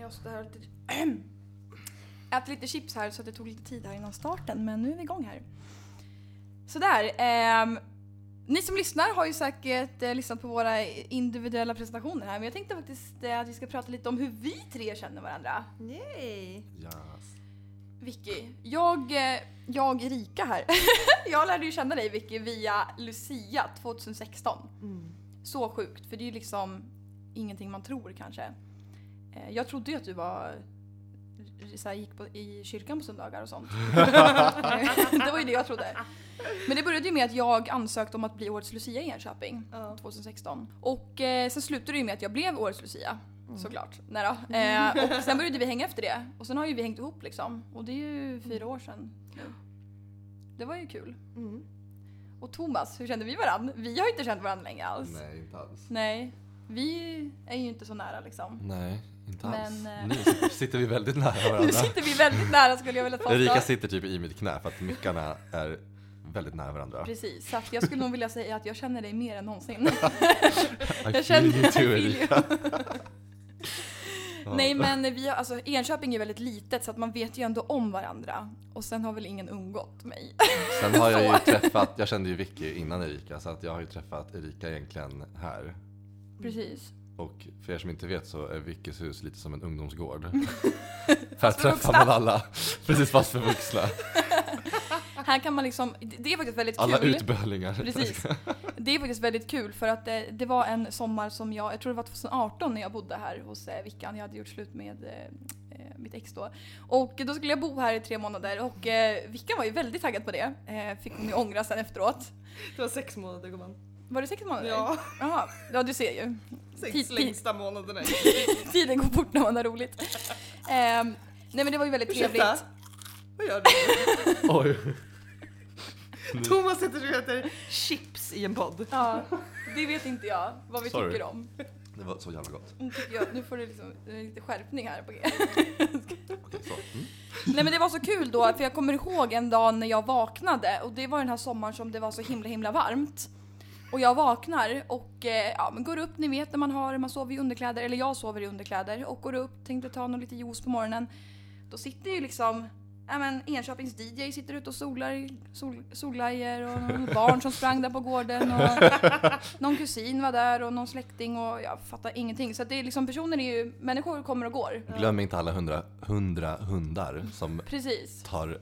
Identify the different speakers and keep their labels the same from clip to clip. Speaker 1: Jag står här och äter- äter lite chips här så att det tog lite tid här innan starten men nu är vi igång här. Sådär. ehm, ni som lyssnar har ju säkert eh, lyssnat på våra individuella presentationer här men jag tänkte faktiskt eh, att vi ska prata lite om hur vi tre känner varandra.
Speaker 2: Yay!
Speaker 3: Yes.
Speaker 1: Vicky, jag, eh, jag är Rika här. jag lärde ju känna dig Vicky via Lucia 2016.
Speaker 2: Mm.
Speaker 1: Så sjukt, för det är ju liksom ingenting man tror kanske. Eh, Jag trodde ju att du var eh, så här, gick på, i kyrkan på söndagar och sånt. det var ju det jag trodde. Men det började ju med att jag ansökte om att bli årets Lucia i Enköping
Speaker 2: Ja.
Speaker 1: 2016. Och eh, sen slutade det ju med att jag blev årets Lucia. Såklart. Nej då. Eh, och sen började vi hänga efter det. Och sen har ju vi hängt ihop liksom. Och det är ju fyra år sedan nu. Det var ju kul.
Speaker 2: Mm.
Speaker 1: Och Thomas, hur kände vi varandra? Vi har ju inte känt varandra länge alls.
Speaker 3: Nej, inte alls.
Speaker 1: Nej, vi är ju inte så nära liksom.
Speaker 3: Nej, inte alls.
Speaker 1: Men, eh,
Speaker 3: Nu sitter vi väldigt nära
Speaker 1: Nu
Speaker 3: varandra.
Speaker 1: sitter vi väldigt nära skulle jag vilja
Speaker 3: Erika
Speaker 1: påstå.
Speaker 3: sitter typ i mitt knä för att mickarna är väldigt nära varandra.
Speaker 1: Precis, så att jag skulle nog vilja säga att jag känner dig mer än någonsin.
Speaker 3: I
Speaker 1: Jag
Speaker 3: feel
Speaker 1: känner
Speaker 3: you
Speaker 1: I
Speaker 3: too,
Speaker 1: feel
Speaker 3: Erika.
Speaker 1: you. Nej men vi har, alltså, Enköping är väldigt litet så att man vet ju ändå om varandra. Och sen har väl ingen undgått mig.
Speaker 3: Sen har jag ju träffat, jag kände ju Vicky innan Erika så att jag har ju träffat Erika egentligen här.
Speaker 1: Precis.
Speaker 3: Och för er som inte vet så är Vickys hus lite som en ungdomsgård. här
Speaker 1: för vuxna.
Speaker 3: träffar man alla, precis fast för vuxna.
Speaker 1: Här kan man liksom, det det är faktiskt väldigt
Speaker 3: Alla
Speaker 1: kul.
Speaker 3: utbölingar.
Speaker 1: Precis. Det är faktiskt väldigt kul för att eh, det, det var en sommar som jag, jag tror det var 2018 när jag bodde här hos eh, Vickan. Jag hade gjort slut med eh, eh, mitt ex då. Och då skulle jag bo här i tre månader och eh, Vickan var ju väldigt taggad på det. Eh, fick hon ju ångra sen efteråt.
Speaker 2: Det var sex månader gumman.
Speaker 1: Var det sex månader?
Speaker 2: Ja,
Speaker 1: Jaha, ja du ser ju. Tid-
Speaker 2: sex
Speaker 1: tid-
Speaker 2: längsta månaderna.
Speaker 1: Tiden går fort när man har roligt. Ehm, nej men det var ju väldigt
Speaker 2: Ursäkta?
Speaker 1: trevligt.
Speaker 2: Vad gör du?
Speaker 3: Oj.
Speaker 2: Thomas sätter sig och äter chips i en podd.
Speaker 1: Ja, det vet inte jag vad vi
Speaker 3: Sorry.
Speaker 1: tycker om.
Speaker 3: Det var så jävla gott.
Speaker 1: Nu tycker jag, nu får du liksom, eh, lite skärpning här på G.
Speaker 3: Okej, så. Mm.
Speaker 1: Nej men det var så kul då för jag kommer ihåg en dag när jag vaknade och det var den här sommaren som det var så himla himla varmt. Och jag vaknar och eh, ja, men går upp, ni vet när man har, man sover i underkläder, eller jag sover i underkläder och går upp, tänkte ta någon lite juice på morgonen. Då sitter ju liksom ja, men Enköpings DJ sitter ute och solar, sol, solglajjor och någon barn som sprang där på gården och någon kusin var där och någon släkting och jag fattar ingenting. Så att det är liksom personer är ju, människor kommer och går.
Speaker 3: Glöm inte alla hundra, hundra hundar som
Speaker 1: Precis.
Speaker 3: tar,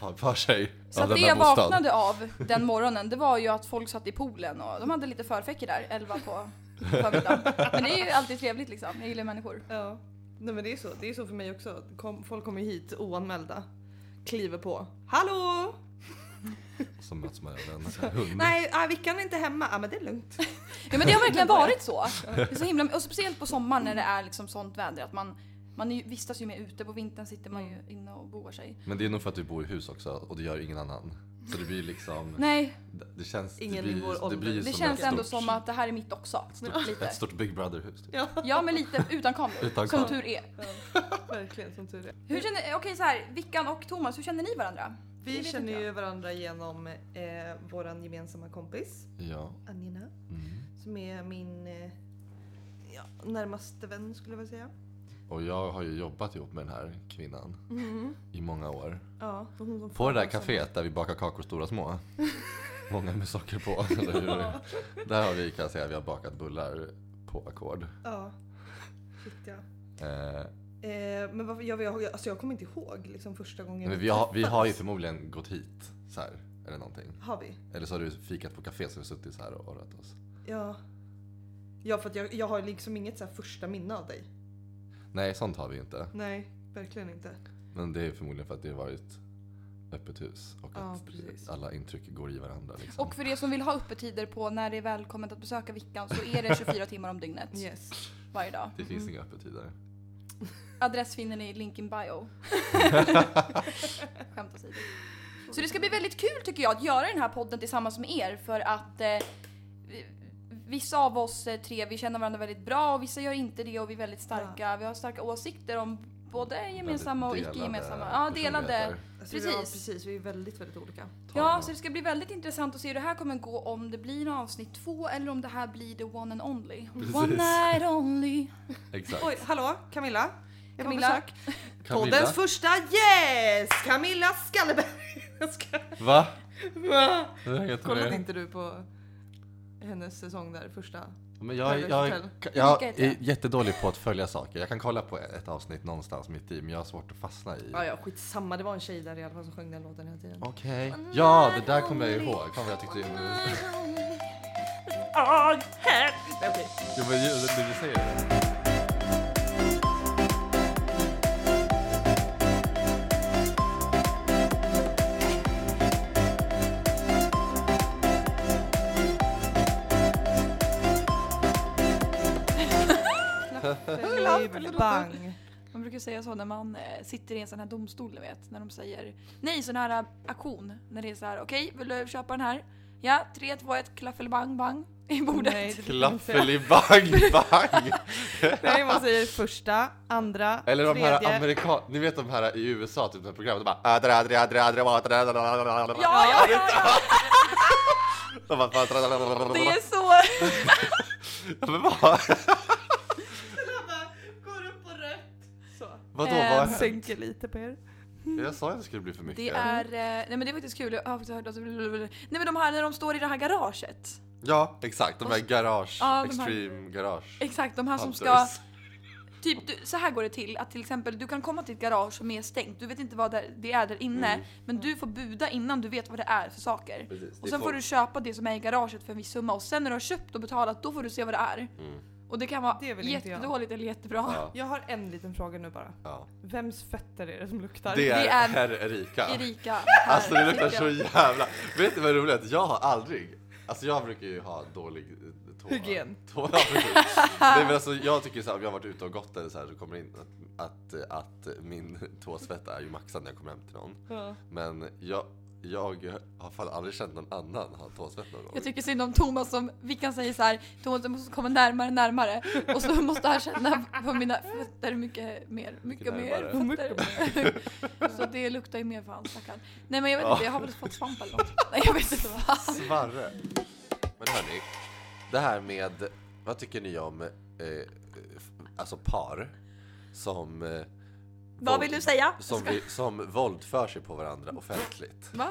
Speaker 3: tar för sig
Speaker 1: Så
Speaker 3: av
Speaker 1: att det
Speaker 3: denna
Speaker 1: jag
Speaker 3: bostad.
Speaker 1: vaknade av den morgonen, det var ju att folk satt i poolen och de hade lite förfäcker där, elva på förmiddagen. Men det är ju alltid trevligt liksom, jag gillar människor.
Speaker 2: Ja. Nej men det är så, det är så för mig också. Kom, folk kommer ju hit oanmälda. Kliver på. Hallå!
Speaker 3: Så möts man av en hund.
Speaker 2: Nej, ah, Vickan är inte hemma. Ja ah, men det är lugnt.
Speaker 1: Ja men det har verkligen varit så. Det är så himla, och speciellt på sommaren när det är liksom sånt väder att man, man är ju, vistas ju mer ute, på vintern sitter man ju inne och boar sig.
Speaker 3: Men det är nog för att du bor i hus också och det gör ingen annan. Så det blir liksom,
Speaker 1: Nej,
Speaker 3: det känns,
Speaker 2: Ingen
Speaker 3: det
Speaker 2: i
Speaker 3: blir,
Speaker 2: vår
Speaker 3: det
Speaker 2: ålder.
Speaker 3: blir ju
Speaker 1: det
Speaker 3: som
Speaker 1: känns
Speaker 3: ett
Speaker 1: ändå
Speaker 3: stort,
Speaker 1: som att det här är mitt också. Lite.
Speaker 3: ett stort Big Brother-hus. typ.
Speaker 2: Ja,
Speaker 1: Ja men lite, utan kameror.
Speaker 3: Utan
Speaker 1: som
Speaker 3: kameror.
Speaker 1: tur är.
Speaker 2: verkligen som tur är.
Speaker 1: Hur känner, okej så här, Vickan och Thomas, hur känner ni varandra? Det
Speaker 2: Vi
Speaker 1: vet
Speaker 2: känner
Speaker 1: inte
Speaker 2: ju varandra genom eh, våran gemensamma kompis
Speaker 3: Ja.
Speaker 2: Anina.
Speaker 3: Mm.
Speaker 2: Som är min eh, ja, närmaste vän skulle jag vilja säga.
Speaker 3: Och jag har ju jobbat ihop med den här kvinnan
Speaker 2: Mm.
Speaker 3: i många år.
Speaker 2: Ja, hon som
Speaker 3: På det där
Speaker 2: föreläser.
Speaker 3: kaféet där vi bakar kakor stora och små. Många med socker på. eller hur? Där har vi, kan jag säga, vi har bakat bullar på ackord.
Speaker 2: Ja. Shit, ja.
Speaker 3: Eh,
Speaker 2: Eh, men varför, jag, jag, alltså jag kommer inte ihåg liksom första gången
Speaker 3: men vi, har, vi har ju
Speaker 2: träffades.
Speaker 3: förmodligen gått hit så här, eller någonting.
Speaker 2: Har vi?
Speaker 3: Eller så har du fikat på café så har vi suttit så här och orrat oss.
Speaker 2: Ja. Ja för att jag, jag har liksom inget så här första minne av dig.
Speaker 3: Nej, sånt har vi ju inte.
Speaker 2: Nej, verkligen inte.
Speaker 3: Men det är förmodligen för att det har varit öppet hus och
Speaker 2: Ja,
Speaker 3: att
Speaker 2: precis.
Speaker 3: alla intryck går i varandra. Liksom.
Speaker 1: Och för er som vill ha öppettider på när det är välkommet att besöka Vickan så är det 24 timmar om dygnet
Speaker 2: Yes.
Speaker 1: varje dag.
Speaker 3: det finns inga öppettider.
Speaker 1: Adress finner ni i link in bio. Skämt åsido. Så det ska bli väldigt kul tycker jag att göra den här podden tillsammans med er för att eh, vi- vissa av oss eh, tre vi känner varandra väldigt bra och vissa gör inte det och vi är väldigt starka. Vi har starka åsikter om både gemensamma och
Speaker 3: Väldigt
Speaker 1: icke gemensamma.
Speaker 3: delade
Speaker 1: Ja, delade.
Speaker 3: personligheter.
Speaker 2: Alltså, precis. Vi, har,
Speaker 1: Precis.
Speaker 2: precis, vi är väldigt, väldigt olika.
Speaker 1: Ja, så det ska bli väldigt intressant att se hur det här kommer gå om det blir avsnitt två eller om det här blir the one and only.
Speaker 3: Precis.
Speaker 1: One night only.
Speaker 3: Exakt.
Speaker 2: Oj, hallå Camilla? Jag var på
Speaker 1: Camilla.
Speaker 2: besök. Poddens första gäst! Camilla Skalleberg! Jag ska...
Speaker 3: Va?
Speaker 2: Va?
Speaker 3: Hur heter
Speaker 2: Kollade
Speaker 3: det?
Speaker 2: inte du på hennes säsong där, första?
Speaker 3: Men jag,
Speaker 2: Paradise
Speaker 3: jag,
Speaker 2: Hotel.
Speaker 3: jag
Speaker 1: Vilka heter
Speaker 3: är
Speaker 1: det?
Speaker 3: jättedålig på att följa saker. Jag kan kolla på ett avsnitt någonstans mitt i men jag har svårt att fastna i.
Speaker 2: Ja, ja, skitsamma. Det var en tjej där i alla fall som sjöng den låten hela tiden.
Speaker 3: Okej. Ja, det där kommer jag ihåg. Fan vad jag tyckte...
Speaker 2: Nej, okej.
Speaker 3: Jo men ju- det du säger det.
Speaker 2: Bang.
Speaker 1: Man brukar säga så när man eh, sitter i en sån här domstol, ni vet. När de säger nej, sån här eh, auktion. När det är så här, okej, vill du köpa den här? Ja, 3, 2, 1, klaffelbang, bang i bordet.
Speaker 2: Nej, det brukar man säga.
Speaker 3: Klaffelibang, bang!
Speaker 2: Nej, man säger första, andra,
Speaker 3: Eller de
Speaker 2: tredje.
Speaker 3: här amerikan... Ni vet de här i USA, typ det här programmet, de bara... "Adra, adra, adra, adra, adra, adra, adra, adra."
Speaker 1: Ja, ja, ja, ja!
Speaker 3: De bara... "Adra, adra, adra, adra."
Speaker 1: Det är så...
Speaker 3: Ja, Men vad?
Speaker 2: Går upp på rött. Så.
Speaker 3: Vadå, vad
Speaker 1: Eh,
Speaker 3: har hänt?
Speaker 2: Sänker lite på er.
Speaker 3: Jag sa ju att det skulle bli för mycket.
Speaker 1: Det är, eh, nej men det är faktiskt kul, jag har faktiskt hört att, nej men de här när de står i det här garaget.
Speaker 3: Ja, exakt. De här garage,
Speaker 1: Ja, de här-
Speaker 3: extreme garage.
Speaker 1: Exakt, de här som ska,
Speaker 3: hunters.
Speaker 1: typ du, så här går det till att till exempel du kan komma till ett garage som är stängt, du vet inte vad det det är där inne,
Speaker 3: Mm.
Speaker 1: men du får buda innan du vet vad det är för saker.
Speaker 3: Precis.
Speaker 1: Och sen får du köpa det som är i garaget för en viss summa och sen när du har köpt och betalat då får du se vad det är.
Speaker 3: Mm.
Speaker 1: Och det kan vara
Speaker 2: Det vill inte jag.
Speaker 1: jättedåligt eller jättebra.
Speaker 3: Ja,
Speaker 2: Jag har en liten fråga nu bara.
Speaker 3: ja.
Speaker 2: Vems fötter är det som luktar?
Speaker 3: Det är,
Speaker 1: Det är-
Speaker 3: herr Erika.
Speaker 1: Erika, här
Speaker 3: Alltså det luktar
Speaker 1: sitter
Speaker 3: så
Speaker 1: jag.
Speaker 3: jävla... Vet du vad det är roligt? Jag har aldrig... Alltså jag brukar ju ha dålig eh, tå.
Speaker 2: Hygien.
Speaker 3: Tå, ja, precis. Nej, men alltså, jag tycker så här, om jag har varit ute och gått eller så här så kommer det in att, att, att min tåsvett är ju maxad när jag kommer hem till någon.
Speaker 2: Ja.
Speaker 3: Men jag, jag har fan aldrig känt någon annan ha tåsvett någon gång.
Speaker 1: Jag tycker synd om Thomas som Vickan säger så här, Thomas du måste komma närmare närmare och så måste han känna på mina fötter mycket mer, mycket
Speaker 3: Mycket
Speaker 1: mer
Speaker 3: närmare.
Speaker 1: fötter. så det luktar ju mer för hans stackarn. Nej men jag vet
Speaker 3: Ja.
Speaker 1: inte, jag har väl fått svamp eller något. Nej jag vet inte vad.
Speaker 3: Svarre. Men hörni, det här med, vad tycker ni om, eh, f- alltså par som, eh, våld-
Speaker 1: säga?
Speaker 3: som, vi, som våldför sig på varandra offentligt?
Speaker 1: Va?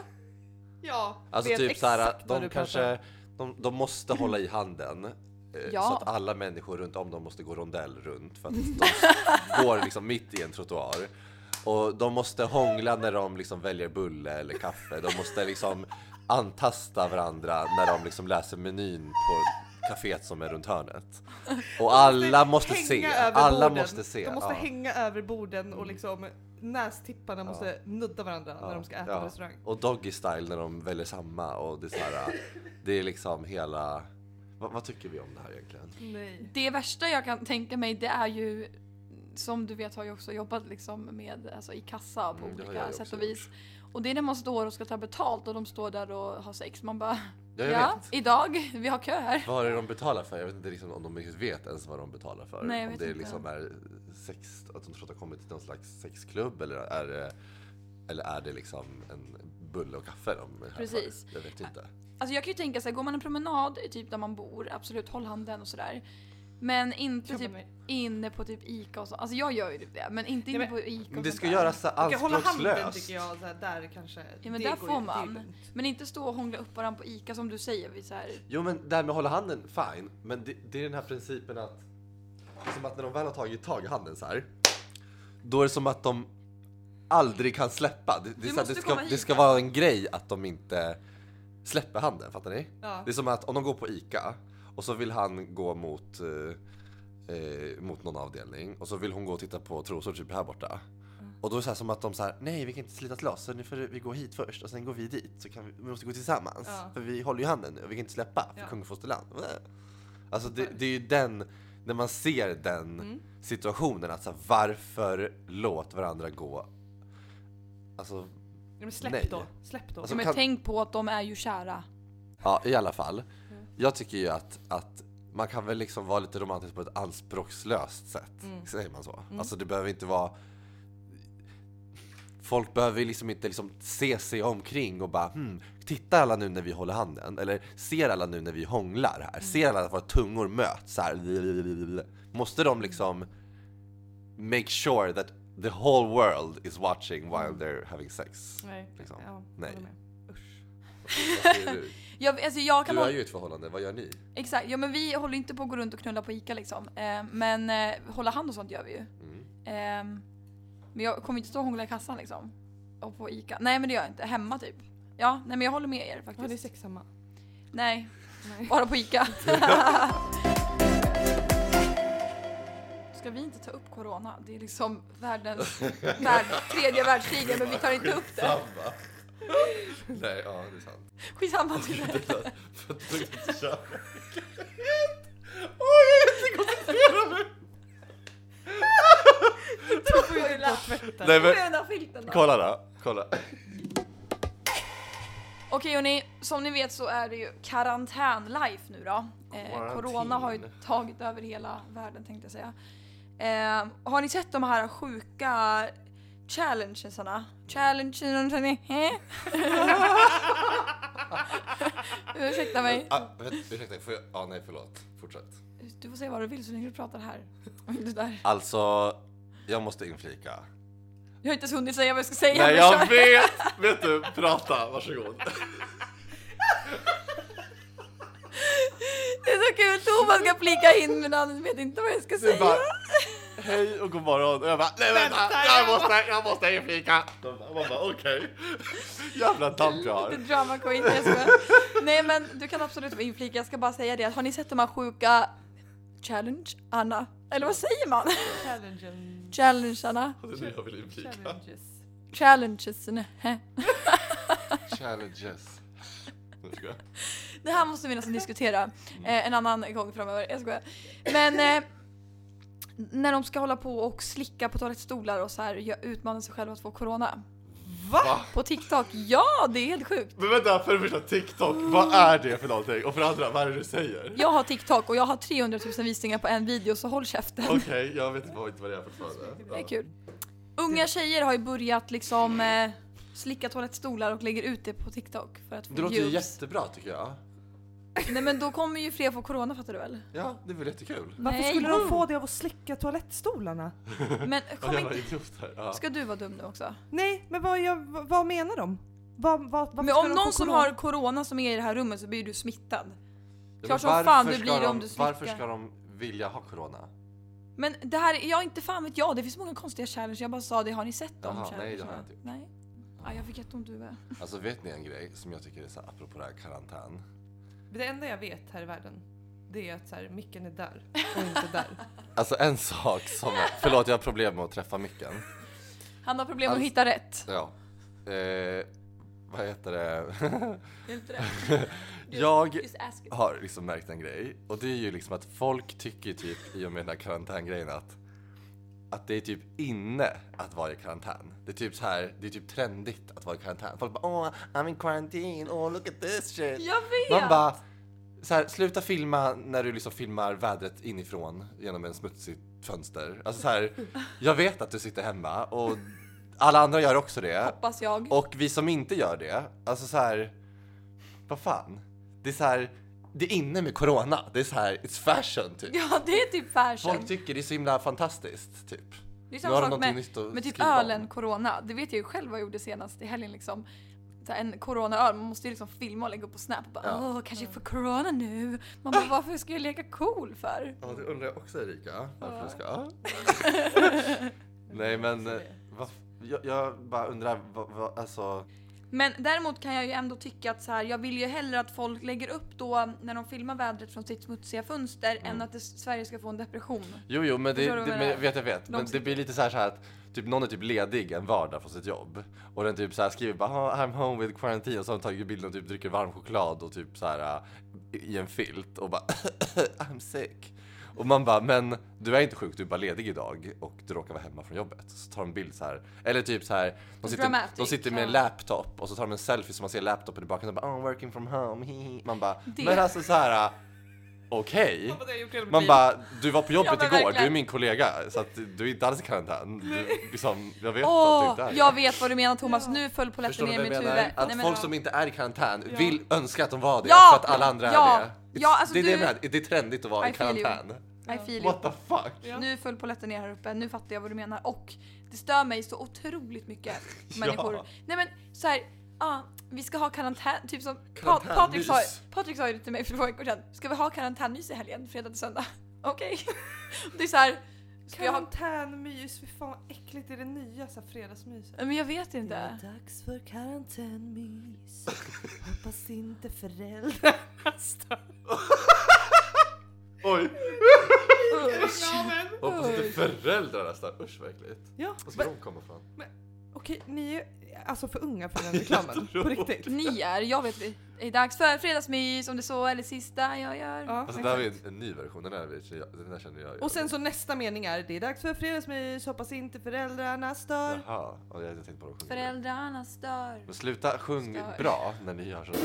Speaker 2: ja
Speaker 3: Alltså
Speaker 2: vet
Speaker 3: typ så här,
Speaker 2: exakt vad
Speaker 3: de
Speaker 2: du pratar om.
Speaker 3: kanske, de, de måste hålla i handen. eh,
Speaker 1: Ja.
Speaker 3: Så att alla människor runt om dem måste gå rondell runt för att de går liksom mitt i en trottoar. Och de måste hångla när de liksom väljer bulle eller kaffe. De måste liksom antasta varandra när de liksom läser menyn på kaféet som är runt hörnet. Och alla måste
Speaker 2: Hänga
Speaker 3: se.
Speaker 2: över
Speaker 3: Alla
Speaker 2: borden.
Speaker 3: måste se.
Speaker 2: De måste
Speaker 3: ja. Mm.
Speaker 2: hänga över borden och liksom nästipparna måste nudda varandra när de ska äta
Speaker 3: Ja.
Speaker 2: på restaurang.
Speaker 3: Och doggy style när de väljer samma och det är så här, det är liksom hela... Vad, vad tycker vi om det här egentligen?
Speaker 2: Nej.
Speaker 1: Det värsta jag kan tänka mig det är ju som du vet har jag också jobbat liksom med, alltså i kassa på
Speaker 3: Mm, det har jag
Speaker 1: olika
Speaker 3: ju
Speaker 1: sätt
Speaker 3: också
Speaker 1: och vis. Och det är när man står och ska ta betalt och de står där och har sex. Man bara
Speaker 3: Ja, jag
Speaker 1: ja,
Speaker 3: vet.
Speaker 1: idag, vi har kö här.
Speaker 3: Vad är det de betalar för? Jag vet inte liksom om de riktigt vet ens vad de betalar för.
Speaker 1: Nej, jag
Speaker 3: om
Speaker 1: vet
Speaker 3: det är
Speaker 1: inte.
Speaker 3: liksom är sex, att de tror att de har kommit till någon slags sexklubb eller är det, eller är det liksom en bulle och kaffe de är här
Speaker 1: Precis.
Speaker 3: för? Jag vet inte.
Speaker 1: Alltså jag kan ju tänka så här, går man en promenad i typ där man bor, absolut håll handen och sådär. Men inte
Speaker 2: Jobba
Speaker 1: typ
Speaker 2: med.
Speaker 1: inne på typ Ica och så. Alltså jag gör ju typ det, men inte inne
Speaker 2: Nej,
Speaker 1: på Ica
Speaker 3: Men
Speaker 1: och
Speaker 3: det
Speaker 1: sånt
Speaker 3: ska
Speaker 1: där.
Speaker 3: göras så
Speaker 2: Jag hålla handen
Speaker 3: anspråkslöst.
Speaker 2: tycker jag, så här, där kanske.
Speaker 1: Ja, men
Speaker 2: det
Speaker 1: där
Speaker 2: går
Speaker 1: får
Speaker 2: ju- det är
Speaker 1: man.
Speaker 2: lugnt.
Speaker 1: Men inte stå och hångla upp varandra på Ica som du säger. Vi så här,
Speaker 3: Jo men det här med att hålla handen, fine. Men det, det är den här principen att, som att när de väl har tagit tag i handen så här, då är det som att de aldrig kan släppa. Det, det, är så här,
Speaker 1: måste
Speaker 3: det, ska,
Speaker 1: komma hit.
Speaker 3: det ska vara en grej att de inte släpper handen, fattar ni?
Speaker 2: Ja.
Speaker 3: Det är som att om de går på ICA och så vill han gå mot, eh, eh, mot någon avdelning och så vill hon gå och titta på trosor typ här borta.
Speaker 2: Mm.
Speaker 3: Och då är det så här som att de så här, nej vi kan inte slitas loss så nu får vi gå hit först och sen går vi dit så kan vi, vi måste gå tillsammans.
Speaker 2: Ja.
Speaker 3: För vi håller ju handen nu och vi kan inte släppa för
Speaker 2: Ja.
Speaker 3: kungfosterland. Alltså det, det är ju den, när man ser den
Speaker 2: Mm.
Speaker 3: situationen att så här, varför låt varandra gå? Alltså
Speaker 2: Ja, men släpp
Speaker 3: Nej.
Speaker 2: då, släpp då.
Speaker 3: Alltså,
Speaker 1: men
Speaker 3: kan-
Speaker 1: tänk på att de är ju kära.
Speaker 3: Ja, i alla fall. Jag tycker ju att, att man kan väl liksom vara lite romantisk på ett anspråkslöst sätt. Säger man så? Alltså det behöver inte vara... Folk behöver ju liksom inte liksom se sig omkring och bara hmm, titta alla nu när vi håller handen. Eller ser alla nu när vi hånglar här. Ser alla att våra tungor möts så här. Måste de liksom make sure that the whole world is watching while they're having sex.
Speaker 2: Nej.
Speaker 3: Liksom.
Speaker 2: Ja,
Speaker 3: Nej.
Speaker 2: håller med. Usch.
Speaker 3: Vad säger du?
Speaker 1: Jag, alltså jag kan
Speaker 3: Du är
Speaker 1: hålla,
Speaker 3: ju i ett förhållande, vad gör ni?
Speaker 1: Exakt, ja men vi håller inte på att gå runt och knulla på ICA liksom. Eh, men eh, hålla hand och sånt gör vi ju.
Speaker 3: Mm.
Speaker 1: Ehm, men jag kommer inte stå och hångla i kassan liksom. Och på ICA. Nej men det gör jag inte, hemma typ. Ja, nej men jag håller med er
Speaker 2: Har ni
Speaker 1: faktiskt.
Speaker 2: sex hemma?
Speaker 1: nej,
Speaker 2: Nej.
Speaker 1: bara på ICA. Ska vi inte ta upp corona? Det är liksom världens, värld, tredje världskriget men vi tar inte upp det.
Speaker 3: Samma. Nej, ja det är sant.
Speaker 1: Skitsamma till det.
Speaker 3: För att du inte kör.
Speaker 2: Oj, jag kan inte koncentrera mig! Jag får ju inte bort tvätten.
Speaker 3: Nej
Speaker 1: Vad
Speaker 3: men
Speaker 1: är den där filten då?
Speaker 3: kolla då, kolla.
Speaker 1: Okej hörni, som ni vet så är det ju karantän-life nu då. Eh,
Speaker 3: Quarantine.
Speaker 1: corona har ju tagit över hela världen tänkte jag säga. Eh, har ni sett de här sjuka challengesarna? Challengesarna? Hä? Ursäkta mig.
Speaker 3: Ah, vet- ursäkta, får jag? Ja, nej förlåt. Fortsätt.
Speaker 1: Du får säga vad du vill så länge du pratar här. Och inte där.
Speaker 3: Alltså, jag måste inflika.
Speaker 1: Jag har inte ens hunnit säga vad jag ska säga.
Speaker 3: Nej
Speaker 1: men
Speaker 3: jag
Speaker 1: kör.
Speaker 3: vet! Vet du, prata, varsågod.
Speaker 1: Det är så kul, Thomas ska flika in men han vet inte vad jag ska
Speaker 3: Du
Speaker 1: säga.
Speaker 3: bara, hej och god morgon. Och jag bara, nej vänta,
Speaker 2: Vänta,
Speaker 3: jag
Speaker 2: jag
Speaker 3: måste, jag måste inflika. De bara, Man bara, okej. Jävla damp jag
Speaker 1: Lite
Speaker 3: har.
Speaker 1: drama queen, jag skojar. Nej men du kan absolut få inflika, jag ska bara säga det att har ni sett de här sjuka challenge Anna? Eller vad säger man?
Speaker 2: Challenges.
Speaker 1: Challenge Anna?
Speaker 3: Det är det jag vill inflika.
Speaker 2: Challenges.
Speaker 1: Challenges nej.
Speaker 3: Challenges. Nu ska jag-
Speaker 1: Det här måste vi nästan diskutera eh, en annan gång framöver, jag skojar. Men eh, när de ska hålla på och slicka på toalettstolar och så här jag utmanar sig själva att få corona.
Speaker 3: Va?
Speaker 1: På TikTok, ja det är helt sjukt!
Speaker 3: Men vänta, för det första TikTok, vad är det för någonting? Och för det andra, vad är det du säger?
Speaker 1: Jag har TikTok och jag har 300 000 visningar på en video så håll käften.
Speaker 3: Okej, jag vet inte vad inte vad det är fortfarande.
Speaker 1: Det är
Speaker 3: Ja.
Speaker 1: kul. Unga tjejer har ju börjat liksom eh, slicka toalettstolar och lägger ut det på TikTok för att få
Speaker 3: Det låter ju
Speaker 1: views.
Speaker 3: jättebra tycker jag.
Speaker 1: Nej men då kommer ju fler få corona fattar du väl?
Speaker 3: Ja, det är väl jättekul.
Speaker 2: Varför
Speaker 1: Nej.
Speaker 2: skulle de få det av att slicka toalettstolarna?
Speaker 1: Men
Speaker 3: Och
Speaker 1: kom
Speaker 3: jag var
Speaker 1: inte...
Speaker 3: idiot här. Ja.
Speaker 1: Ska du vara dum nu också?
Speaker 2: Nej, men vad, jag, vad vad menar de? Vad, vad, varför
Speaker 1: Men
Speaker 2: ska
Speaker 1: om
Speaker 2: de få
Speaker 1: någon som
Speaker 2: corona?
Speaker 1: har corona som är i det här rummet så blir du smittad.
Speaker 3: Ja,
Speaker 1: Klart
Speaker 3: men
Speaker 1: som fan
Speaker 3: varför
Speaker 1: det blir
Speaker 3: ska
Speaker 1: det om
Speaker 3: de-
Speaker 1: du slickar.
Speaker 3: Varför ska de vilja ha corona?
Speaker 1: Men det här, jag inte fan vet jag, det finns många konstiga challenge, jag bara sa det, har ni sett dem?
Speaker 3: Jaha, nej, det har jag
Speaker 1: challengerna?
Speaker 3: inte gjort.
Speaker 1: Nej. Ja, jag fick jätteont huvud.
Speaker 3: Alltså vet ni en grej som jag tycker är så här, apropå det här karantän?
Speaker 2: Det enda jag vet här i världen, det är att så här, micken är där och inte där.
Speaker 3: Alltså en sak som, förlåt jag har problem med att träffa micken.
Speaker 1: Han har problem med att
Speaker 3: Alltså-
Speaker 1: hitta rätt.
Speaker 3: Ja. Eh, vad heter det?
Speaker 1: Inte rätt.
Speaker 3: jag
Speaker 1: Just ask it.
Speaker 3: har liksom märkt en grej och det är ju liksom att folk tycker typ i och med den här karantängrejen att att det är typ inne att vara i karantän. Det är typ så här, det är typ trendigt att vara i karantän. Folk bara åh, I'm in quarantine, åh look at this shit.
Speaker 1: Jag vet!
Speaker 3: Man bara, så här, sluta filma när du liksom filmar vädret inifrån genom en smutsigt fönster. Alltså så här, jag vet att du sitter hemma och alla andra gör också det.
Speaker 1: Hoppas jag.
Speaker 3: Och vi som inte gör det, alltså så här, vad fan? Det är så här, det är inne med corona. Det är så här, it's fashion typ.
Speaker 1: Ja det är typ fashion.
Speaker 3: Folk tycker det är så himla fantastiskt typ.
Speaker 1: Det är
Speaker 3: Nu
Speaker 1: samma
Speaker 3: har de
Speaker 1: sak med,
Speaker 3: någonting nytt att
Speaker 1: med typ
Speaker 3: skriva om.
Speaker 1: ölen corona. Det vet jag ju själv vad jag gjorde senast i helgen liksom. Så här, en coronaöl, man måste ju liksom filma och lägga upp på snap och bara
Speaker 3: Ja.
Speaker 1: åh kanske jag får corona nu. Man bara varför ska jag leka cool för?
Speaker 3: Ja, det undrar jag också Erika. Varför du ska? Nej
Speaker 1: Alltså,
Speaker 3: men, eh, vad- jag, jag bara undrar, vad, vad, alltså.
Speaker 1: Men däremot kan jag ju ändå tycka att så här, jag vill ju hellre att folk lägger upp då när de filmar vädret från sitt smutsiga fönster
Speaker 3: Mm.
Speaker 1: än att det, Sverige ska få en depression.
Speaker 3: Jo, jo, men det,
Speaker 1: Mm. Förstår du
Speaker 3: det,
Speaker 1: vad jag
Speaker 3: men,
Speaker 1: menar?
Speaker 3: jag vet jag vet. Men det
Speaker 1: Långsiktigt.
Speaker 3: blir lite så här, så här att typ någon är typ ledig en vardag från sitt jobb och den typ så här skriver bara "Ah, I'm home with quarantine och så har de tagit bilden och typ dricker varm choklad och typ så här äh, i en filt och bara I'm sick. Och man bara, men du är inte sjuk, du är bara ledig idag och du råkar vara hemma från jobbet. Så tar de en bild så här. Eller typ så här, de sitter,
Speaker 1: Dramatic,
Speaker 3: de sitter med en
Speaker 1: ja.
Speaker 3: laptop och så tar de en selfie så man ser laptopen i bakgrunden och bara "Ah, I'm working from home, hihi." Man bara,
Speaker 1: Det-
Speaker 3: men alltså så här, äh, okej. Man
Speaker 2: Man bara...
Speaker 3: bara, du var på jobbet
Speaker 1: Ja, men
Speaker 3: igår,
Speaker 1: verkligen.
Speaker 3: du är min kollega så att du är inte alls i karantän. Du, liksom, jag vet
Speaker 1: Åh,
Speaker 3: att du inte är
Speaker 1: jag vet vad du menar Thomas,
Speaker 2: Ja.
Speaker 1: nu föll
Speaker 3: Förstår
Speaker 1: polletten
Speaker 3: du
Speaker 1: ner
Speaker 3: vad
Speaker 1: i
Speaker 3: jag
Speaker 1: mitt
Speaker 3: menar?
Speaker 1: huvud.
Speaker 3: Att
Speaker 1: Nej, men-
Speaker 3: folk som inte är i karantän
Speaker 2: Ja.
Speaker 3: vill önska att de var det
Speaker 1: Ja!
Speaker 3: för att alla andra
Speaker 1: Ja!
Speaker 3: är det. It's-
Speaker 1: Ja, alltså
Speaker 3: det är det
Speaker 1: du-
Speaker 3: jag menar, det är trendigt att vara
Speaker 1: I
Speaker 3: i
Speaker 1: feel you.
Speaker 3: karantän.
Speaker 1: I feel you.
Speaker 3: What the fuck?
Speaker 2: Ja.
Speaker 1: Nu föll polletten ner här uppe, nu fattar jag vad du menar och det stör mig så otroligt mycket människor. Nej men så här, ah, vi ska ha karantän, typ som pa-
Speaker 3: Karantänmys.
Speaker 1: Patrik sa, Patrik sa ju det till mig för två veckor sedan, ska vi ha karantänmys i helgen, fredag till söndag? Okej. Det är så här, ska jag ha,
Speaker 2: Karantänmys, fy fan vad äckligt är det nya så här fredagsmyset?
Speaker 1: men jag vet
Speaker 4: Det är
Speaker 1: inte.
Speaker 4: dags för karantänmys. Hoppas inte föräldrar stör.
Speaker 3: Oj!
Speaker 1: Usch.
Speaker 2: men!
Speaker 3: Hoppas inte föräldrarna stör. Usch vad äckligt.
Speaker 2: Ja,
Speaker 3: Var ska
Speaker 2: men
Speaker 3: de komma ifrån?
Speaker 2: okej ni är alltså för unga för den reklamen, på riktigt.
Speaker 1: Ni är, jag vet det. Det är dags för fredagsmys om det så eller sista jag gör.
Speaker 2: Ja,
Speaker 3: Alltså det här var ju
Speaker 2: exakt.
Speaker 3: en, en ny version, den här, vet jag- den här känner jag ju.
Speaker 2: Och sen så nästa mening är det är dags för fredagsmys, hoppas inte föräldrarna stör.
Speaker 3: Jaha, ja, jag hade tänkt på att de sjunger.
Speaker 1: Föräldrarna stör.
Speaker 3: Men sluta sjung
Speaker 1: Stör.
Speaker 3: bra när ni gör sådär.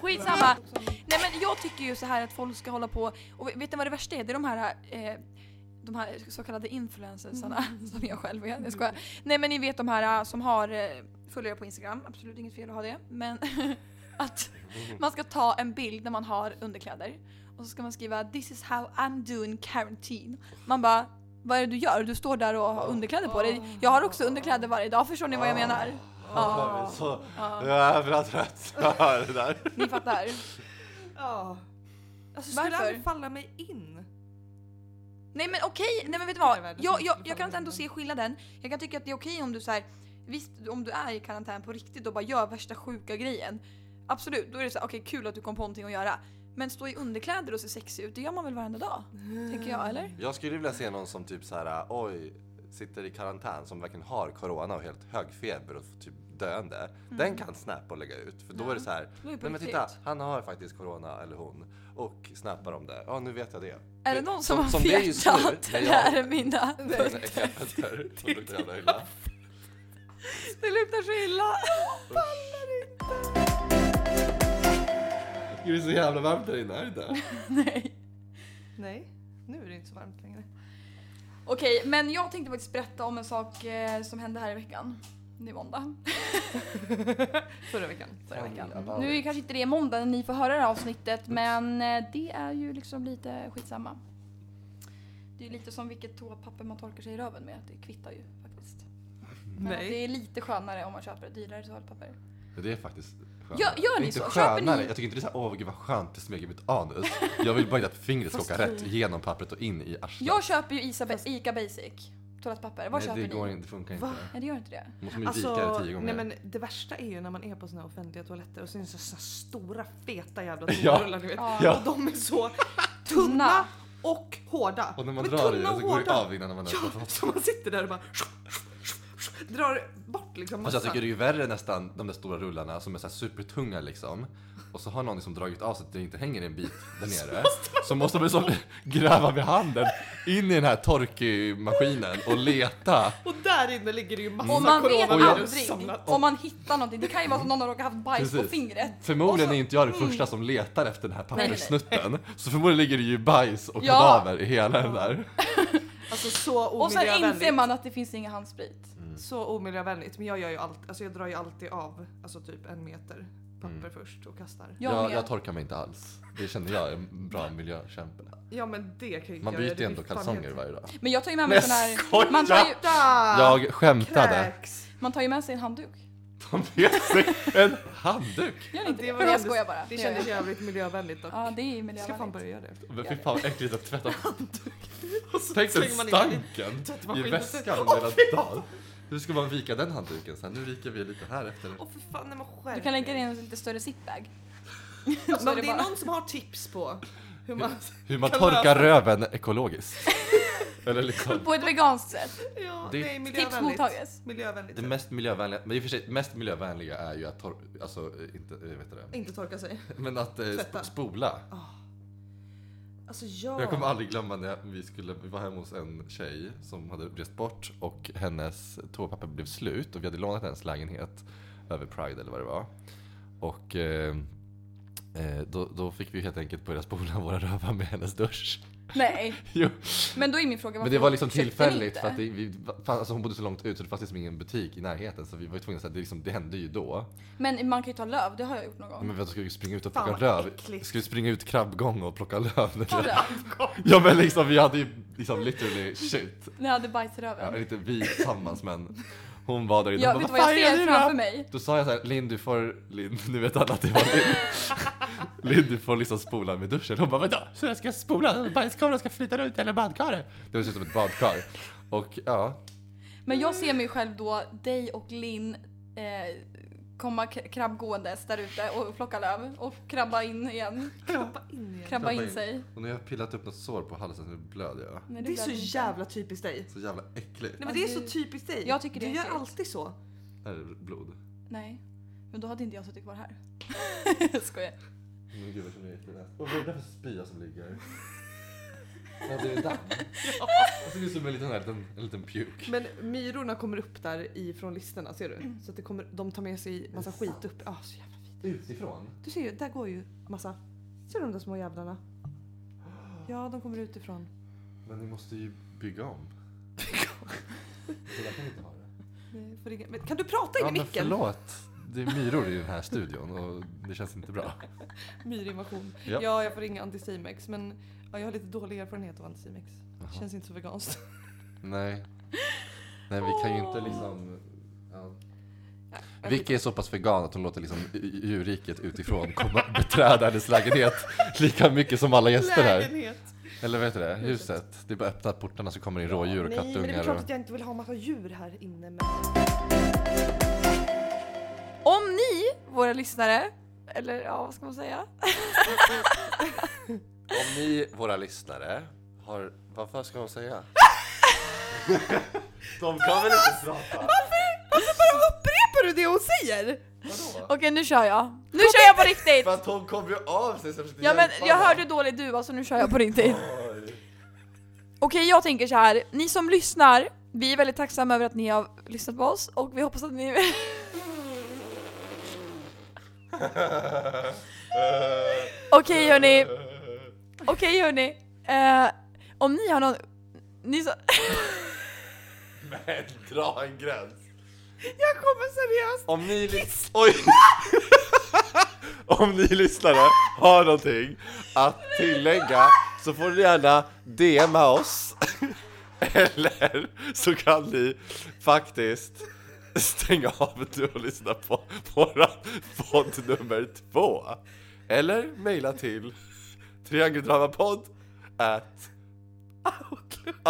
Speaker 1: Skitsamma. Nej men jag tycker ju så här att folk ska hålla på och vet ni vad det värsta är? Det är de här, eh, de här så kallade influencersarna som jag själv är. Jag skojar. Nej men ni vet de här eh, som har eh, följare på Instagram, absolut inget fel att ha det. Men att man ska ta en bild när man har underkläder och så ska man skriva “This is how I'm doing quarantine”. Man bara vad är det du gör? Du står där och har underkläder på dig. Jag har också underkläder varje dag, förstår ni vad jag menar? Ah.
Speaker 3: Jag är så jävla trött på att höra det där.
Speaker 1: Ni fattar.
Speaker 2: Ja. Alltså skulle
Speaker 1: Varför?
Speaker 2: aldrig falla mig in.
Speaker 1: Nej men okej, nej men vet du vad?
Speaker 2: Det är världens
Speaker 1: Jag, jag,
Speaker 2: mest
Speaker 1: jag kan ändå se skillnaden. Jag kan tycka att det är okej om du så här, visst om du är i karantän på riktigt och bara gör värsta sjuka grejen. Absolut, då är det så här, okej kul att du kom på någonting att göra. Men stå i underkläder och se sexig ut, det gör man väl varenda dag? Tänker jag eller?
Speaker 3: Jag skulle vilja se någon som typ så här, oj, sitter i karantän som verkligen har corona och helt hög feber och typ döende. Den kan snappa och lägga ut för då
Speaker 1: Mm. Ja.
Speaker 3: är det så här,
Speaker 1: Det är ju på
Speaker 3: nej men
Speaker 1: riktigt.
Speaker 3: titta, han har faktiskt corona eller hon och snappar om det. Ja, nu vet jag det.
Speaker 1: Är det någon som, har
Speaker 3: det är just nu,
Speaker 1: fjetat?
Speaker 3: när
Speaker 1: Det
Speaker 3: jag-
Speaker 1: här är mina.
Speaker 3: Nej, nej, jag väntar. Det luktar jävla illa.
Speaker 1: Det luktar så illa.
Speaker 3: Gud, Det är så jävla varmt där inne, är det inte?
Speaker 1: Nej.
Speaker 2: Nej, nu är det inte så varmt längre.
Speaker 1: Okej, men jag tänkte faktiskt berätta om en sak eh, som hände här i veckan. Det är måndag.
Speaker 2: Förra veckan.
Speaker 1: förra veckan. Nu är kanske inte det måndag när ni får höra det här avsnittet men eh, det är ju liksom lite skitsamma. Det är ju lite som vilket toapapper man torkar sig i röven med, det kvittar ju faktiskt. Men att det
Speaker 2: Nej.
Speaker 1: är lite skönare om man köper ett dyrare toapapper.
Speaker 3: Det är faktiskt skönare.
Speaker 1: Gör- gör ni
Speaker 3: inte
Speaker 1: så? Köper
Speaker 3: Skönare.
Speaker 1: ni-
Speaker 3: Jag tycker inte det är så här, åh gud vad skönt det smyger mitt anus. Jag vill bara inte att fingret ska
Speaker 2: Fast
Speaker 3: åka
Speaker 2: du-
Speaker 3: rätt genom pappret och in i arslet.
Speaker 1: Jag köper ju Isa, Ica Basic toalettpapper. Vad
Speaker 3: Nej,
Speaker 1: köper
Speaker 3: det
Speaker 1: ni?
Speaker 3: går inte, Mm. det funkar inte.
Speaker 2: Va?
Speaker 1: Nej det gör inte det.
Speaker 3: Man Måste man ju vika
Speaker 2: Alltså,
Speaker 3: det tio gånger.
Speaker 2: nej men det värsta är ju när man är på såna här offentliga toaletter och sen så, så här stora feta jävla
Speaker 3: Ja.
Speaker 2: toarullar ni vet.
Speaker 1: Ja.
Speaker 3: Ja.
Speaker 2: Och de är så
Speaker 1: Tunna.
Speaker 2: tunna och hårda.
Speaker 3: Och när man
Speaker 2: Men
Speaker 3: drar i
Speaker 2: tunna
Speaker 3: den
Speaker 2: och
Speaker 3: så går det
Speaker 2: hårda.
Speaker 3: av innan man
Speaker 2: Ja,
Speaker 3: har fått.
Speaker 2: så man sitter där och bara drar bort liksom
Speaker 3: Fast
Speaker 2: massan.
Speaker 3: jag tycker det är ju värre nästan de där stora rullarna som är så här supertunga liksom. Och så har någon liksom dragit av så att det inte hänger en bit där nere. Så måste man liksom gräva med handen in i den här torkmaskinen och leta.
Speaker 2: Och där inne ligger det ju massa
Speaker 1: Och man vet
Speaker 3: Och jag-
Speaker 2: coronavirus
Speaker 1: aldrig
Speaker 2: samlat.
Speaker 1: om man hittar någonting. Det kan ju vara att någon har råkat haft bajs på
Speaker 3: Precis.
Speaker 1: fingret.
Speaker 3: Förmodligen
Speaker 1: Och
Speaker 3: är
Speaker 1: så-
Speaker 3: inte jag den första som letar efter den här
Speaker 1: nej, nej.
Speaker 3: papperssnutten. Så förmodligen ligger det ju bajs och
Speaker 1: Ja.
Speaker 3: kadaver i hela den där.
Speaker 2: Alltså så
Speaker 1: Och sen inser
Speaker 2: omiljövänligt.
Speaker 1: man att det finns ingen handsprit.
Speaker 3: Mm.
Speaker 2: Så omiljövänligt. Men jag gör ju allt, alltså jag drar ju alltid av alltså typ en meter papper
Speaker 3: Mm.
Speaker 2: först och kastar.
Speaker 1: Jag
Speaker 3: Jag,
Speaker 1: med.
Speaker 3: jag torkar mig inte alls. Det känner jag är en bra miljökämpe.
Speaker 2: Ja men det kan ju inte
Speaker 3: Man
Speaker 2: jag göra,
Speaker 3: byter ju
Speaker 2: det
Speaker 3: ändå
Speaker 2: är fan
Speaker 3: kalsonger
Speaker 2: helt-
Speaker 3: varje dag.
Speaker 1: Men jag tar ju med
Speaker 3: Men
Speaker 1: mig
Speaker 3: jag
Speaker 1: sån här...
Speaker 3: skojar!
Speaker 1: Man tar, ju,
Speaker 2: Sluta!
Speaker 3: Jag skämtade.
Speaker 2: Kräks!
Speaker 1: man tar ju med sig en handduk.
Speaker 3: Ta med sig en handduk.
Speaker 1: Gör ni inte
Speaker 2: Det
Speaker 1: det?
Speaker 2: var
Speaker 1: Nej,
Speaker 2: det
Speaker 1: jag
Speaker 2: ändå-
Speaker 1: skojar bara.
Speaker 2: Det
Speaker 1: gör
Speaker 2: kändes
Speaker 1: jag.
Speaker 2: jävligt miljövänligt dock.
Speaker 1: Ja, det är
Speaker 2: jag ska
Speaker 1: miljövänligt.
Speaker 2: fan börja göra det.
Speaker 3: Men
Speaker 1: Ja,
Speaker 3: fy
Speaker 1: det.
Speaker 3: fan vad äckligt att tvätta
Speaker 2: Och så
Speaker 3: Tänk den
Speaker 2: slänger man in den i-
Speaker 3: stanken i
Speaker 2: tvättmaskinen.
Speaker 3: väskan hela dagen. Hur ska man vika den handduken sen? Nu viker vi lite här efter.
Speaker 2: Åh för fan, nej men skärp
Speaker 1: Du kan lägga
Speaker 2: er.
Speaker 1: in en lite större zipbag.
Speaker 2: Men
Speaker 1: Så
Speaker 2: om
Speaker 1: är Alltså, det
Speaker 2: det är
Speaker 1: bara-
Speaker 2: någon som har tips på hur man...
Speaker 3: Hur man
Speaker 2: Kan
Speaker 3: torkar
Speaker 2: lösa.
Speaker 3: röven ekologiskt. Eller liksom.
Speaker 1: På ett veganskt sätt.
Speaker 2: Ja,
Speaker 3: Det-
Speaker 2: det är
Speaker 1: Tips
Speaker 2: miljövänligt.
Speaker 1: mottages.
Speaker 2: Miljövänligt.
Speaker 3: Det mest miljövänliga, men i och för sig, mest miljövänliga är ju att tor- alltså eh, inte, eh, vet du det?
Speaker 2: Inte torka sig.
Speaker 3: Men att eh, sp-
Speaker 2: Tvätta.
Speaker 3: spola.
Speaker 2: Alltså ja.
Speaker 3: Jag kommer aldrig glömma när vi skulle, vi var hemma hos en tjej som hade rest bort och hennes toapapper blev slut och vi hade lånat hennes lägenhet över Pride eller vad det var. Och eh, eh, då, då fick vi helt enkelt börja spola våra rövar med hennes dusch.
Speaker 1: Nej,
Speaker 3: Jo.
Speaker 1: men då är min fråga varför
Speaker 3: Men det var liksom
Speaker 1: köpte ni
Speaker 3: tillfälligt
Speaker 1: inte?
Speaker 3: för att det, vi, fan, alltså hon bodde så långt ut så det fanns liksom ingen butik i närheten så vi var ju tvungna att säga, det, liksom, det hände ju då.
Speaker 1: Men man kan ju ta löv, det har jag gjort någon gång.
Speaker 3: Men vänta, ska vi springa ut och
Speaker 2: Fan,
Speaker 3: plocka
Speaker 2: vad
Speaker 3: löv?
Speaker 2: äckligt.
Speaker 3: Ska vi springa ut krabbgång och plocka löv?
Speaker 1: Ta löv.
Speaker 3: Ja men liksom vi hade ju liksom literally shit.
Speaker 1: Ni hade bajs i
Speaker 3: Ja,
Speaker 1: röven.
Speaker 3: inte vi tillsammans men hon var där inne.
Speaker 1: Jag
Speaker 3: Hon
Speaker 1: vet du
Speaker 3: bara,
Speaker 1: vad jag
Speaker 3: "Fan,
Speaker 1: ser
Speaker 3: gör du
Speaker 1: framför
Speaker 3: då?"
Speaker 1: mig?
Speaker 3: Då sa jag såhär, Linn du får, Linn, nu vet alla att det var Linn. Linn du får liksom spola med duschen. Hon bara vänta, så jag ska spola? Bajskameran ska flyta runt eller badkaret? Det ser ut som ett badkar. Och ja,
Speaker 1: Men jag ser mig själv då, dig och Linn eh, komma k- krabbgåendes där ute och plocka löv och krabba in igen.
Speaker 2: Klappa in igen.
Speaker 1: Krabba in
Speaker 3: in.
Speaker 1: sig.
Speaker 3: och nu har jag pillat upp något sår på halsen så nu blöder jag.
Speaker 1: Men
Speaker 2: Det är så
Speaker 1: blev inte.
Speaker 2: jävla typiskt dig.
Speaker 3: Så jävla äckligt.
Speaker 2: Nej men det är så typiskt dig.
Speaker 1: Alltså, Jag tycker det
Speaker 2: du
Speaker 1: är
Speaker 2: gör
Speaker 1: äckligt.
Speaker 2: alltid så.
Speaker 3: Här är blod.
Speaker 1: Nej, men då hade inte jag suttit kvar här. Skojar.
Speaker 3: Men gud vad känner jag jättenäs. Och vad är det för spya som ligger? Ja, det är damm. Det ser ut som en liten, en liten, en liten puke.
Speaker 2: Men myrorna kommer upp där ifrån listorna ser du? Så att det kommer, de tar med sig massa skit upp. Ah, så jävla.
Speaker 3: Utifrån?
Speaker 2: Du ser ju, där går ju massa. Ser du de där små jävlarna? Ja, de kommer utifrån.
Speaker 3: Men ni måste ju bygga om. Så där kan vi inte ha det.
Speaker 2: Nej, får ringa- Men kan du prata in
Speaker 3: Ja,
Speaker 2: i
Speaker 3: men
Speaker 2: micken?
Speaker 3: förlåt. Det är myror i den här studion och det känns inte bra.
Speaker 2: Myrinvasion.
Speaker 3: Ja.
Speaker 2: Ja. jag får ringa Anticimex men ja, jag har lite dålig erfarenhet av Anticimex.
Speaker 3: Jaha.
Speaker 2: Känns inte så veganskt.
Speaker 3: Nej. Nej, vi kan ju inte liksom... Ja. Vicky är så pass vegan att hon låter liksom djurriket utifrån komma beträda hennes lägenhet lika mycket som alla gäster här.
Speaker 2: Lägenhet!
Speaker 3: Eller vad heter det? Huset. Det är bara att öppna portarna så kommer det in rådjur och
Speaker 2: Nej, men det är väl
Speaker 3: kattungar.
Speaker 2: klart
Speaker 3: Och...
Speaker 2: att jag inte vill ha massa djur här inne men...
Speaker 1: Om ni, våra lyssnare, eller ja, vad ska man säga?
Speaker 5: Om ni, våra lyssnare, har... Vad fan ska man säga? De kan väl inte prata?
Speaker 2: Bara upprepar du det hon säger?
Speaker 3: Vadå?
Speaker 1: Okej, nu kör jag. Nu kör jag på riktigt!
Speaker 5: För att hon kom ju av sig så jag försökte
Speaker 1: Ja men
Speaker 5: hjälpa
Speaker 1: jag
Speaker 5: dem.
Speaker 1: hörde dålig du alltså nu kör jag på riktigt.
Speaker 5: Oj.
Speaker 1: Okej jag tänker så här. ni som lyssnar, vi är väldigt tacksamma över att ni har lyssnat på oss och vi hoppas att ni...
Speaker 5: Eh,
Speaker 1: Okej hörni, okej hörni. Eh, om ni har någon... Ni så...
Speaker 5: Men dra en gräns.
Speaker 2: Jag kommer seriöst!
Speaker 5: Om ni, lys- Oj. Om ni lyssnare har någonting att tillägga så får ni gärna DMa oss. Eller så kan ni faktiskt stänga av nu och lyssna på våran podd nummer två. Eller mejla till triangeldramapodd at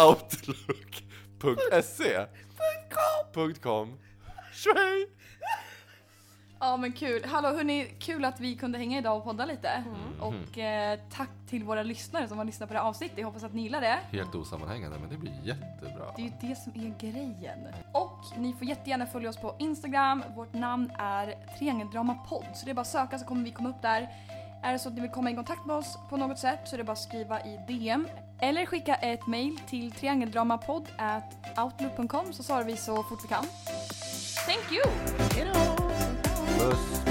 Speaker 5: outlook.se punkt .com Shui!
Speaker 1: Ja men kul. Hallå hörni, kul att vi kunde hänga idag och podda lite. Och eh, tack till våra lyssnare som har lyssnat på det här avsnittet. Jag hoppas att ni gillar det.
Speaker 3: Helt osammanhängande, men det blir jättebra.
Speaker 1: Det är ju det som är grejen. Och ni får jättegärna följa oss på Instagram. Vårt namn är triangeldramapodd. Så det är bara att söka så kommer vi komma upp där. Är det så att ni vill komma i kontakt med oss på något sätt så är det bara att skriva i DM. Eller skicka ett mail till triangeldramapodd at outlook.com så svarar vi så fort vi kan. Thank you!
Speaker 2: Hejdå!
Speaker 3: Puss,